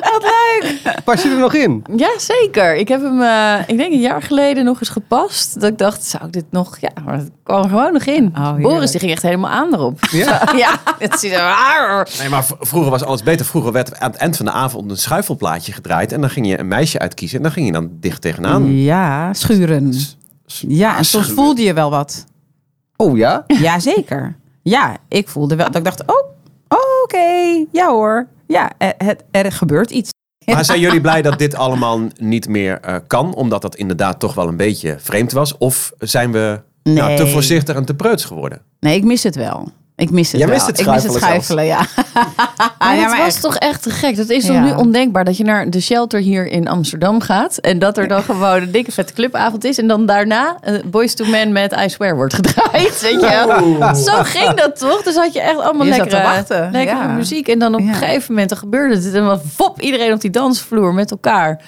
A: Wat leuk.
B: Pas je er nog in?
A: Ja, zeker. Ik heb hem, eh, ik denk een jaar geleden nog eens gepast. Dat ik dacht, zou ik dit nog... Ja, maar het kwam er gewoon nog in.
F: heerlijk.
A: Boris, die ging echt helemaal aan erop.
B: Ja.
A: ja, dat is raar.
C: Nee, maar v- vroeger was alles beter. Vroeger werd aan het eind van de avond een schuifelplaatje gedraaid. En dan ging je een meisje uitkiezen. En dan ging je dan dicht
A: Mm.
C: tegenaan.
F: Ja, schuren. Ja, en soms
C: schuren.
F: voelde je wel wat.
B: Oh ja?
F: Jazeker. Ja, ik voelde wel. Dat ik dacht, oh, oh, oké. Ja hoor. Ja, eh, het, er gebeurt iets.
C: Maar zijn jullie blij dat dit allemaal niet meer eh, kan? Omdat dat inderdaad toch wel een beetje vreemd was. Of zijn we nou,
F: Nee.
C: te voorzichtig en te preuts geworden?
F: Nee, ik mis het wel. Ik mis het
C: Jij
F: wel.
C: mist het
F: ik mis het
C: schuifelen
F: schuifelen, ja. Ah,
A: Maar
F: ja,
A: het was toch echt te gek. Dat is toch
F: Ja.
A: nu ondenkbaar dat je naar de shelter hier in Amsterdam gaat. En dat er dan gewoon een dikke vette clubavond is. En dan daarna eh, Boys to Men met I Swear wordt gedraaid. Weet je?
F: Oh,
A: wel. Zo ging dat toch? Dus had je echt allemaal
F: Je zat
A: lekkere,
F: te wachten,
A: lekkere
F: ja.
A: muziek. En dan op
F: Ja.
A: een gegeven moment dan gebeurde het. En dan vop, iedereen op die dansvloer met elkaar.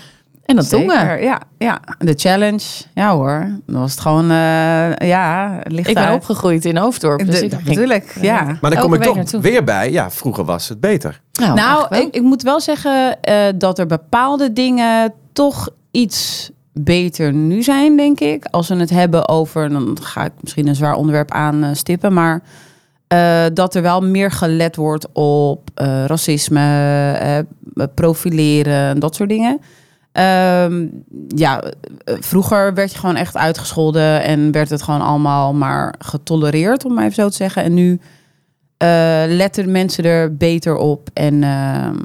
A: En dat tongen.
F: Zeker, ja, ja. De challenge. Ja hoor. Dan was het gewoon, eh, ja, het ligt
A: Ik ben
F: uit.
A: opgegroeid in Hoofddorp. Dus
F: De-
A: ik ging,
F: Natuurlijk, ja.
C: Maar dan
A: Elke
C: kom ik
A: week
C: toch
A: naartoe.
C: weer bij. Ja, vroeger was het beter.
A: nou,
F: Nou,
A: eigenlijk
F: ik, ik moet wel zeggen eh, dat er bepaalde dingen toch iets beter nu zijn, denk ik. Als we het hebben over, dan ga ik misschien een zwaar onderwerp aan eh, stippen, maar eh, dat er wel meer gelet wordt op eh, racisme, eh, profileren, dat soort dingen. Ehm, ja, eh, vroeger werd je gewoon echt uitgescholden en werd het gewoon allemaal maar getolereerd, om maar even zo te zeggen. En nu eh, letten mensen er beter op en ehm,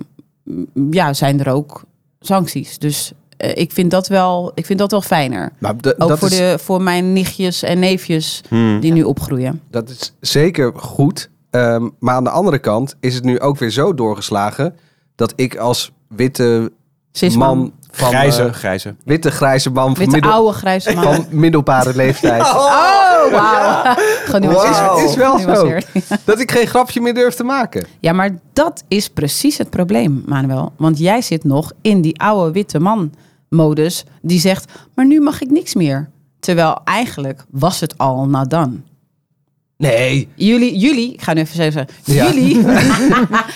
F: m- ja, zijn er ook sancties. Dus eh, ik, vind dat wel, ik vind dat wel fijner.
B: Maar Nou, d-
F: Ook
B: dat,
F: voor,
B: is, Hmm.
F: de, voor mijn nichtjes en neefjes die nu opgroeien.
B: dat is zeker goed. Ehm, maar aan de andere kant is het nu ook weer zo doorgeslagen dat ik als witte
F: Cisman.
B: man van
C: Grijze,
B: eh,
C: grijze.
B: witte grijze man van,
F: Witte
B: middel-
F: oude grijze man.
B: van middelbare leeftijd.
F: Oh, wauw. Genuanceerd.
B: Wow. Is- is wel zo.
F: Genuanceerd.
B: Dat ik geen grapje meer durf te maken.
F: Ja, maar dat is precies het probleem, Manuel. Want jij zit nog in die oude witte man-modus die zegt, maar nu mag ik niks meer. Terwijl eigenlijk was het al nou dan.
B: Nee.
F: Jullie, jullie, ik ga nu even zeggen,
B: Ja.
F: jullie,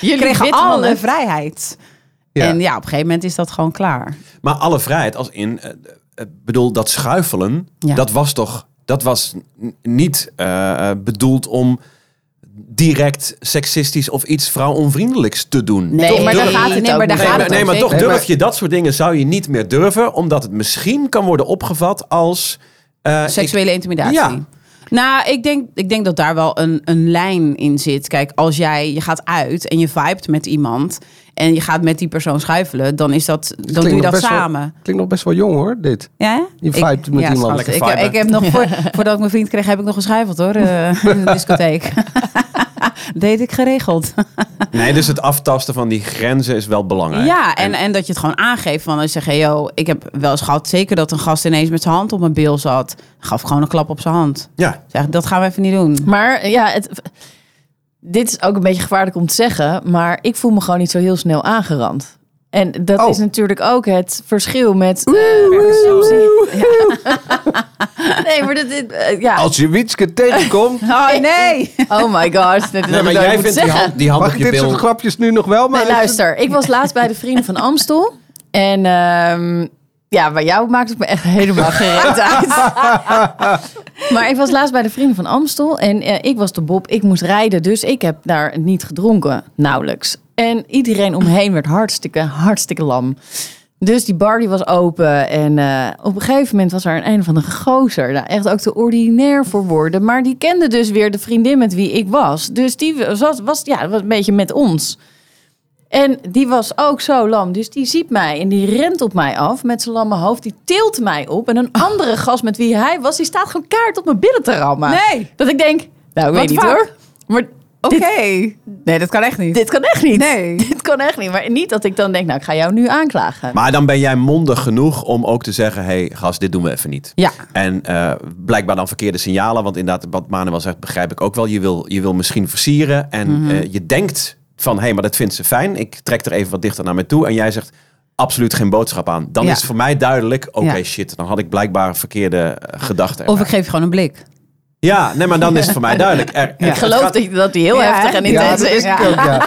A: Jullie
F: kregen
A: witte
F: alle
A: mannen.
F: vrijheid.
B: Ja.
F: En ja, op een gegeven moment is dat gewoon klaar.
C: Maar alle vrijheid als in, eh, eh, bedoel, dat schuifelen,
F: Ja.
C: dat was toch, dat was n- niet eh, bedoeld om direct seksistisch of iets vrouwonvriendelijks te doen.
A: Nee,
C: Toch
A: maar daar
C: durf-
A: gaat het
F: nee, maar
A: ook
F: daar
A: niet
C: Nee,
A: om.
F: gaat
C: maar,
F: het
C: nee,
F: om,
C: maar toch
B: zeker.
C: durf je dat soort dingen zou je niet meer durven, omdat het misschien kan worden opgevat als eh, ik-
F: Seksuele intimidatie.
C: Ja.
F: Nou, ik denk, ik denk dat daar wel een, een lijn in zit. Kijk, als jij je gaat uit en je vibet met iemand en je gaat met die persoon schuifelen, dan is dat, dan doe je dat samen.
B: klinkt nog best wel jong hoor, dit.
F: Ja?
B: Je
F: Ik-
B: vibet met
F: ja,
B: iemand.
F: schat,
C: Lekker
F: ik,
C: viben.
F: ik heb nog voor, voordat ik mijn vriend kreeg, heb ik nog geschuifeld hoor. eh, in de discotheek. Deed ik geregeld.
C: Nee, dus het aftasten van die grenzen is wel belangrijk.
F: Ja, en, en dat je het gewoon aangeeft. Van als je zegt, hey, yo, ik heb wel eens gehad, zeker dat een gast ineens met zijn hand op mijn bil zat. Gaf ik gewoon een klap op zijn hand.
C: Ja,
F: Zeg, dat gaan we even niet doen.
A: Maar ja, het, dit is ook een beetje gevaarlijk om te zeggen. Maar ik voel me gewoon niet zo heel snel aangerand. En dat
B: Oh.
A: is natuurlijk ook het verschil met. eh, Ja. nee, maar dat, dit, eh, ja.
B: Als je Wietske tegenkomt,
F: Oh nee!
A: Oh my god. Dit is wat
C: nee, maar
A: ik ook
C: jij
A: moet
C: vindt die
A: zeggen.
C: hand, die hand
B: mag
C: op
B: ik
C: je
B: dit
C: bil...
B: soort grapjes nu nog wel? Maar
A: Nee, luister, ik was laatst bij de Vrienden van Amstel. En ehm, ja, bij jou maakt het me echt helemaal geen reet uit. maar ik was laatst bij de Vrienden van Amstel. En eh, ik was de Bob, ik moest rijden. Dus ik heb daar niet gedronken, nauwelijks. En iedereen omheen werd hartstikke, hartstikke lam. Dus die bar die was open. En eh, op een gegeven moment was er een een van de gozer. Nou, echt ook te ordinair voor woorden. Maar die kende dus weer de vriendin met wie ik was. Dus die was, was, ja, was een beetje met ons. En die was ook zo lam. Dus die ziet mij en die rent op mij af met zijn lamme hoofd. Die tilt mij op. En een andere gast met wie hij was, die staat gewoon kaart op mijn billen te rammen.
F: Nee!
A: Dat ik denk, nou, ik
F: What
A: weet niet
F: fuck?
A: hoor. Maar
F: Oké.
A: dit,
F: Nee, dat kan echt niet.
A: dit kan echt niet.
F: Nee.
A: Dit kan echt niet. Maar niet dat ik dan denk, nou, ik ga jou nu aanklagen.
C: Maar dan ben jij mondig genoeg om ook te zeggen... hé, hey, gast, dit doen we even niet.
F: Ja.
C: En eh, blijkbaar dan verkeerde signalen. Want inderdaad, wat Manuel zegt, begrijp ik ook wel. Je wil, je wil misschien versieren. En
F: Mhm.
C: eh, je denkt van, hé, hey, maar dat vindt ze fijn. Ik trek er even wat dichter naar me toe. En jij zegt, absoluut geen boodschap aan. Dan
F: Ja.
C: is voor mij duidelijk, oké,
F: Ja.
C: shit. Dan had ik blijkbaar verkeerde eh, gedachten.
F: Of ik
C: erbij.
F: geef je gewoon een blik.
C: Ja, nee, maar dan is het voor mij duidelijk. Er,
F: Ja.
A: Ik geloof
C: gaat,
A: dat je- dat die heel
F: Ja,
A: heftig
F: hè?
A: en
F: Ja,
A: intens
F: dat
A: is.
F: is- ja.
B: ja.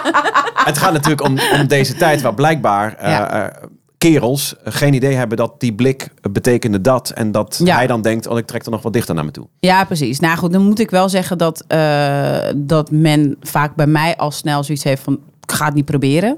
C: Het gaat natuurlijk om, om deze tijd waar blijkbaar eh,
F: Ja.
C: eh, kerels geen idee hebben dat die blik betekende dat. En dat
F: Ja.
C: hij dan denkt, oh ik trek er nog wat dichter naar me toe.
F: Ja, precies. Nou goed, dan moet ik wel zeggen dat, eh, dat men vaak bij mij al snel zoiets heeft van... Ik ga het niet proberen.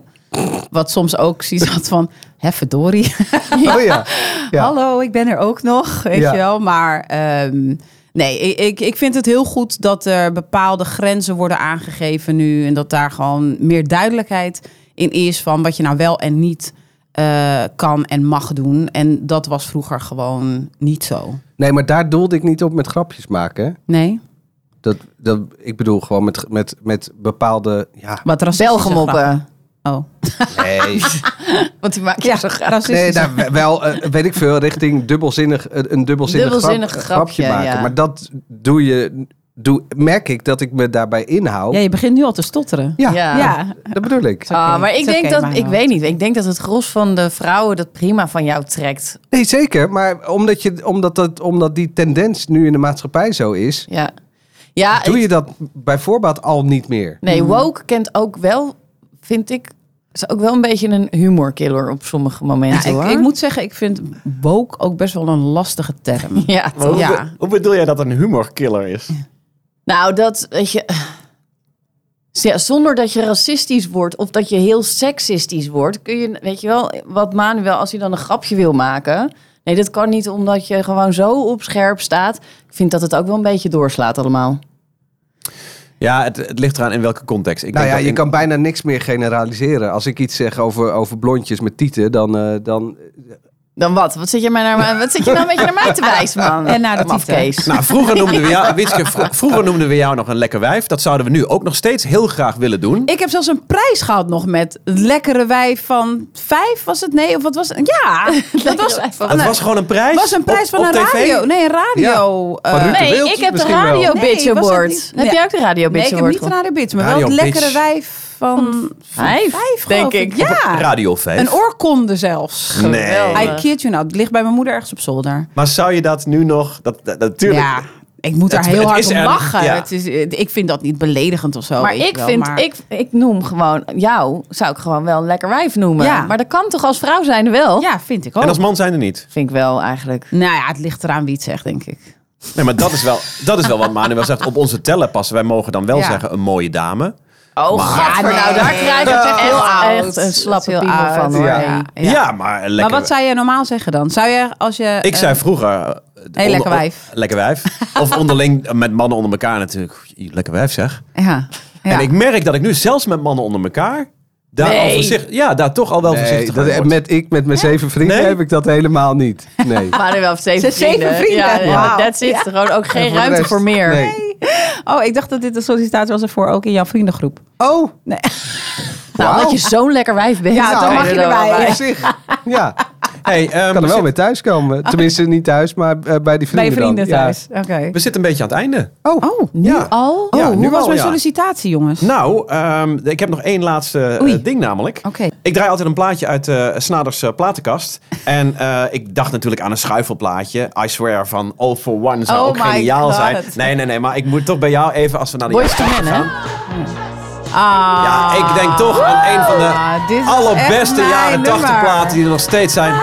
F: Wat soms ook zoiets had van... Hè, verdorie.
B: Oh ja. ja.
F: Hallo, ik ben er ook nog, weet
B: Ja.
F: je wel. Maar ehm, nee, ik, ik- ik vind het heel goed dat er bepaalde grenzen worden aangegeven nu. En dat daar gewoon meer duidelijkheid in is van wat je nou wel en niet eh, kan en mag doen. En dat was vroeger gewoon niet zo.
B: Nee, maar daar doelde ik niet op met grapjes maken. hè.
F: Nee?
B: Dat, dat, ik bedoel gewoon met, met, met bepaalde... Ja,
F: Wat racistische grappen.
A: Belgemoppen.
F: Oh.
B: nee.
A: Want die maak je zo graag.
B: nee
F: racistische
B: daar wel, eh, weet ik veel, richting dubbelzinnig, eh, een dubbelzinnig, grap-
A: Dubbelzinnig
B: grapje,
A: grapje,
B: maken.
A: ja.
B: Maar dat doe je, doe, merk ik dat ik me daarbij inhoud.
F: Ja, je begint nu al te stotteren.
B: Ja,
A: Ja.
B: dat bedoel ik.
F: oké.
A: Ah, maar ik
F: Is oké,
A: denk dat,
F: Manuel.
A: ik weet niet, ik denk dat het gros van de vrouwen dat prima van jou trekt.
B: Nee, zeker. Maar omdat, je, omdat, dat, omdat die tendens nu in de maatschappij zo is,
A: Ja, ja
B: doe
A: ik-
B: je dat bij voorbaat al niet meer.
A: Nee,
F: Hmm.
A: woke kent ook wel, vind ik, is ook wel een beetje een humorkiller op sommige
F: Ja,
A: momenten.
F: ik,
A: hoor.
F: ik moet zeggen, ik vind woke ook best wel een lastige term.
A: ja, toch?
F: hoe Ja. be-
C: bedoel jij dat een humorkiller is?
A: Nou, dat weet je. Ja, zonder dat je racistisch wordt of dat je heel seksistisch wordt, kun je, weet je wel, wat Manuel, als hij dan een grapje wil maken. Nee, dat kan niet omdat je gewoon zo op scherp staat. Ik vind dat het ook wel een beetje doorslaat allemaal.
C: Ja, het, het ligt eraan in welke context. Ik
B: nou
C: denk
B: ja,
C: dat
B: je
C: in-
B: kan bijna niks meer generaliseren. Als ik iets zeg over, over blondjes met tieten, dan, eh, dan...
A: Dan wat? Wat zit je, mij naar, wat zit je nou een beetje naar mij te wijzen, man?
F: En naar de
A: Kom af,
F: titel.
A: Kees.
C: Nou, vroeger noemden, we jou, Witske, vro- vroeger noemden we jou nog een lekker wijf. Dat zouden we nu ook nog steeds heel graag willen doen.
F: Ik heb zelfs een prijs gehad nog met het lekkere wijf van vijf, was het? Nee, of wat was het? Ja, dat was,
A: wijf van-
C: het
F: nee,
C: was gewoon een prijs.
F: was een prijs
C: op-
F: van
C: op
F: een
C: tv.
F: radio. Nee, een radio. eh,
B: Van Ruud de
A: Nee,
B: Wild
A: ik heb de
B: misschien wel.
A: Radio
F: Nee,
A: Bitch
F: was het
A: Award.
F: niet?
A: Heb
F: Nee.
A: jij ook de Radio
F: nee,
A: Bitch
F: ik heb
A: Award
F: niet een
A: gehad?
F: radio bitch, maar wel
C: Radio
F: het lekkere
C: Bitch.
F: wijf van
A: Vijf,
F: vijf,
A: denk
F: geloof ik.
A: ik.
F: Ja,
C: Radio 5.
F: een oorkonde zelfs.
C: Nee.
A: Geweldig.
F: I kid you not. Het ligt bij mijn moeder ergens op zolder.
C: Maar zou je dat nu nog... Dat, dat- natuurlijk.
F: Ja, ik moet daar
C: Het-
F: heel
C: het
F: hard
C: is
F: om
C: er-
F: lachen.
C: ja.
F: Het is, eh, ik vind dat niet beledigend of zo.
A: Maar
F: weet je
A: ik
F: wel,
A: vind,
F: maar-
A: Ik, ik noem gewoon jou, zou ik gewoon wel een lekker wijf noemen.
F: Ja.
A: Maar dat kan toch als vrouw zijn wel?
F: Ja, vind ik ook.
C: En als man zijn er niet.
A: Vind ik wel eigenlijk.
F: Nou ja, het ligt eraan wie het zegt, denk ik.
C: Nee, maar dat is wel, dat is wel wat Manuel zegt. Op onze tellen passen. Wij mogen dan wel
F: Ja.
C: zeggen een mooie dame.
E: Oh, gadver, nou daar krijg ik echt heel oud.
A: Echt een slappe
E: Heel
A: piemel
E: oud,
A: van hoor.
B: ja.
A: Hey.
C: Ja, maar lekker.
F: Maar wat zou je normaal zeggen dan? Zou je als je...
C: Ik
F: eh,
C: zei vroeger... eh, onder-
F: lekker wijf.
C: Lekker wijf. Of onderling met mannen onder elkaar natuurlijk. Lekker wijf zeg.
F: eh, Ja. ja.
C: En ik merk dat ik nu zelfs met mannen onder elkaar... Daar al voorzicht- ja, daar toch al wel
B: Nee,
C: voorzichtig aan
B: dat,
C: word.
B: met ik, met mijn zeven vrienden
C: Nee?
B: heb ik dat helemaal niet. Nee.
A: Maar er wel zeven
F: Ze heeft
A: vrienden.
F: zeven
A: Ja,
F: vrienden.
A: ja,
F: Wauw.
A: that's it. Gewoon ook
B: En
A: geen
B: voor de
A: ruimte
B: rest,
A: voor meer.
B: nee.
F: Oh, ik dacht dat dit een sollicitatie was ervoor ook in jouw vriendengroep.
B: Oh,
A: Nou, omdat je zo'n lekker wijf bent.
F: Ja,
A: dan
F: dan
A: kan
F: mag je
A: er wel
F: erbij.
A: bij.
B: op zich. Ja,
C: Hey, ehm,
B: kan er wel
C: we
B: mee thuiskomen. Tenminste, niet thuis, maar eh, bij die vrienden
F: Bij je vrienden
B: dan. Ja.
F: thuis. Oké.
C: zit- We zitten een beetje aan het einde.
F: Oh,
B: Ja.
A: Al?
F: Oh,
C: Ja, nu
F: hoe was
C: al,
F: mijn
C: ja.
F: sollicitatie, jongens?
C: Nou, ehm, ik heb nog één laatste eh,
F: Oei.
C: ding namelijk.
F: Oké.
C: Ik draai altijd een plaatje uit eh, Snaders eh, platenkast. En eh, ik dacht natuurlijk aan een schuifelplaatje. I swear van All for One zou
F: Oh
C: ook
F: my
C: geniaal
F: God.
C: zijn. Nee, nee, nee. Maar ik moet toch bij jou even als we naar de
A: Boyz II Men, hè?
F: Ah,
C: Ja, ik denk toch aan een van de
F: dit is echt
C: allerbeste
F: mijn
C: jaren 80
F: nummer.
C: platen die er nog steeds zijn.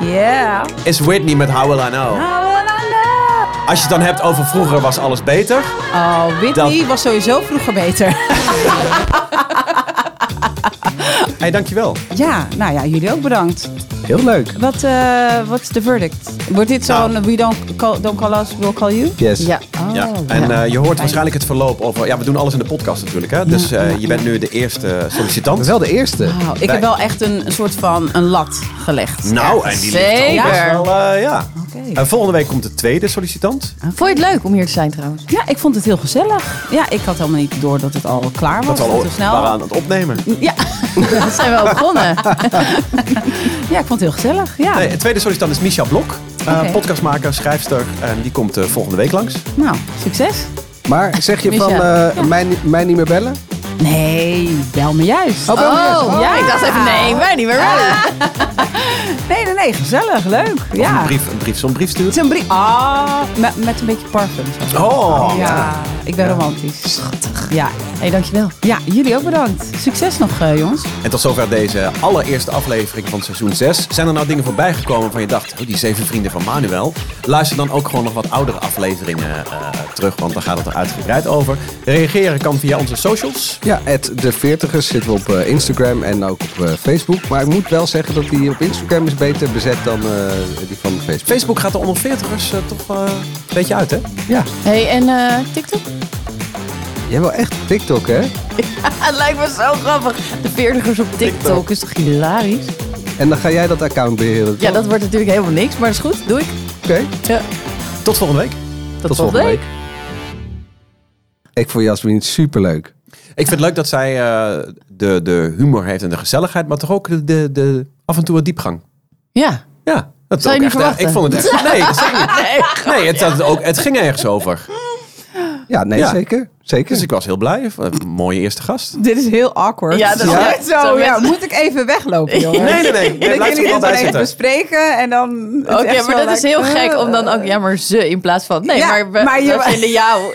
F: Yeah.
C: Is Whitney met How Will I Know. Als je het dan hebt over vroeger was alles beter.
F: Oh, Whitney was sowieso vroeger beter.
C: Hé, hey, dankjewel.
F: ja, nou ja, jullie ook bedankt.
B: Heel leuk.
F: Wat, eh, wat is de verdict? Wordt dit zo'n
C: Nou.
F: we don't call, don't call us, we'll call you?
B: Yes.
A: Ja.
C: Ja,
F: Oh,
C: en eh, je hoort waarschijnlijk het verloop over... Ja, we doen alles in de podcast natuurlijk, hè? Dus eh, je bent nu de eerste
B: Maar
C: sollicitant.
B: wel de eerste.
F: Oh, ik
C: Wij-
F: heb wel echt een, een soort van een lat gelegd.
C: Nou, en die ligt al
A: Zeker.
C: best wel, eh, ja.
F: Oké. Oh,
C: En volgende week komt de tweede sollicitant.
A: Vond je het leuk om hier te zijn trouwens?
F: Ja, ik vond het heel gezellig. Ja, ik had helemaal niet door dat het al klaar was.
C: Dat zal
F: al
C: al
F: te snel.
C: waaraan het opnemen.
F: Ja,
A: Dat zijn wel begonnen.
F: ja, ik vond het heel gezellig. Ja.
C: Nee, de tweede sollicitant is Micha Blok. eh,
F: Oké.
C: Podcastmaker, schrijfster. En die komt eh, volgende week langs.
F: Nou, succes.
B: Maar zeg je van,
A: Michel.
B: eh, mij, ni- mij niet meer bellen?
F: Nee, bel me juist.
B: Oh, bel me eerst.
A: Oh, ja. Ik dacht even, nee, wij niet meer.
F: Nee, nee, nee, gezellig, leuk.
C: Een
F: Ja.
C: brief, een brief, zo'n brief sturen.
F: Het is een brief. Ah, met, met een beetje parfum.
C: Oh,
F: Ja, ik ben romantisch. Schattig. Ja.
A: hey, dankjewel.
F: ja, jullie ook bedankt. Succes nog, eh, jongens.
C: En tot zover deze allereerste aflevering van seizoen 6. Zijn er nou dingen voorbij gekomen waarvan je dacht, oh, die zeven vrienden van Manuel? Luister dan ook gewoon nog wat oudere afleveringen eh, terug, want daar gaat het er uitgebreid over. Reageren kan via onze socials.
B: Ja, at de veertigers zitten we op eh, Instagram en ook op eh, Facebook. Maar ik moet wel zeggen dat die op Instagram is beter bezet dan eh, die van Facebook.
C: Facebook gaat de onder 40ers eh, toch eh, een beetje uit, hè?
B: Ja,
A: hey, en eh, TikTok?
B: jij wel echt TikTok, hè?
A: Het lijkt me zo grappig. De veertigers op TikTok is toch hilarisch?
B: En dan ga jij dat account beheren.
A: Ja,
B: toch?
A: dat wordt natuurlijk helemaal niks, maar is goed. Doe ik.
B: Oké,
A: Ja.
C: Tot volgende week.
B: tot volgende week. Ik vond Jasmin superleuk.
C: Ik vind het leuk dat zij eh, de, de humor heeft en de gezelligheid, maar toch ook de, de, de af en toe wat diepgang.
A: Ja.
C: Ja. Dat
A: Zou
C: ook
A: je niet
C: echt, eh, Ik vond
A: verwachten?
C: het echt... Nee, dat zei ik niet. nee het, had ook, het ging ergens over.
B: Ja, nee,
C: Ja.
B: zeker. Zeker.
C: Dus ik was heel blij. Een mooie eerste gast.
F: Dit is heel awkward.
A: Ja, dat is
F: Ja.
A: echt
F: Zo,
A: zo,
F: ja,
A: met-
F: moet ik even weglopen, jongens?
C: Nee, nee, nee. nee
F: Dat jullie
C: blijf er
F: dit
C: gewoon
F: dan
C: bij
F: even
C: zitten.
F: bespreken en dan... het
A: Oké,
F: echt
A: maar
F: zo
A: dat is
F: like,
A: heel
F: eh,
A: gek om dan ook, ja, maar ze in plaats van, nee,
F: Ja,
A: maar we,
F: maar je-
A: we vinden jou.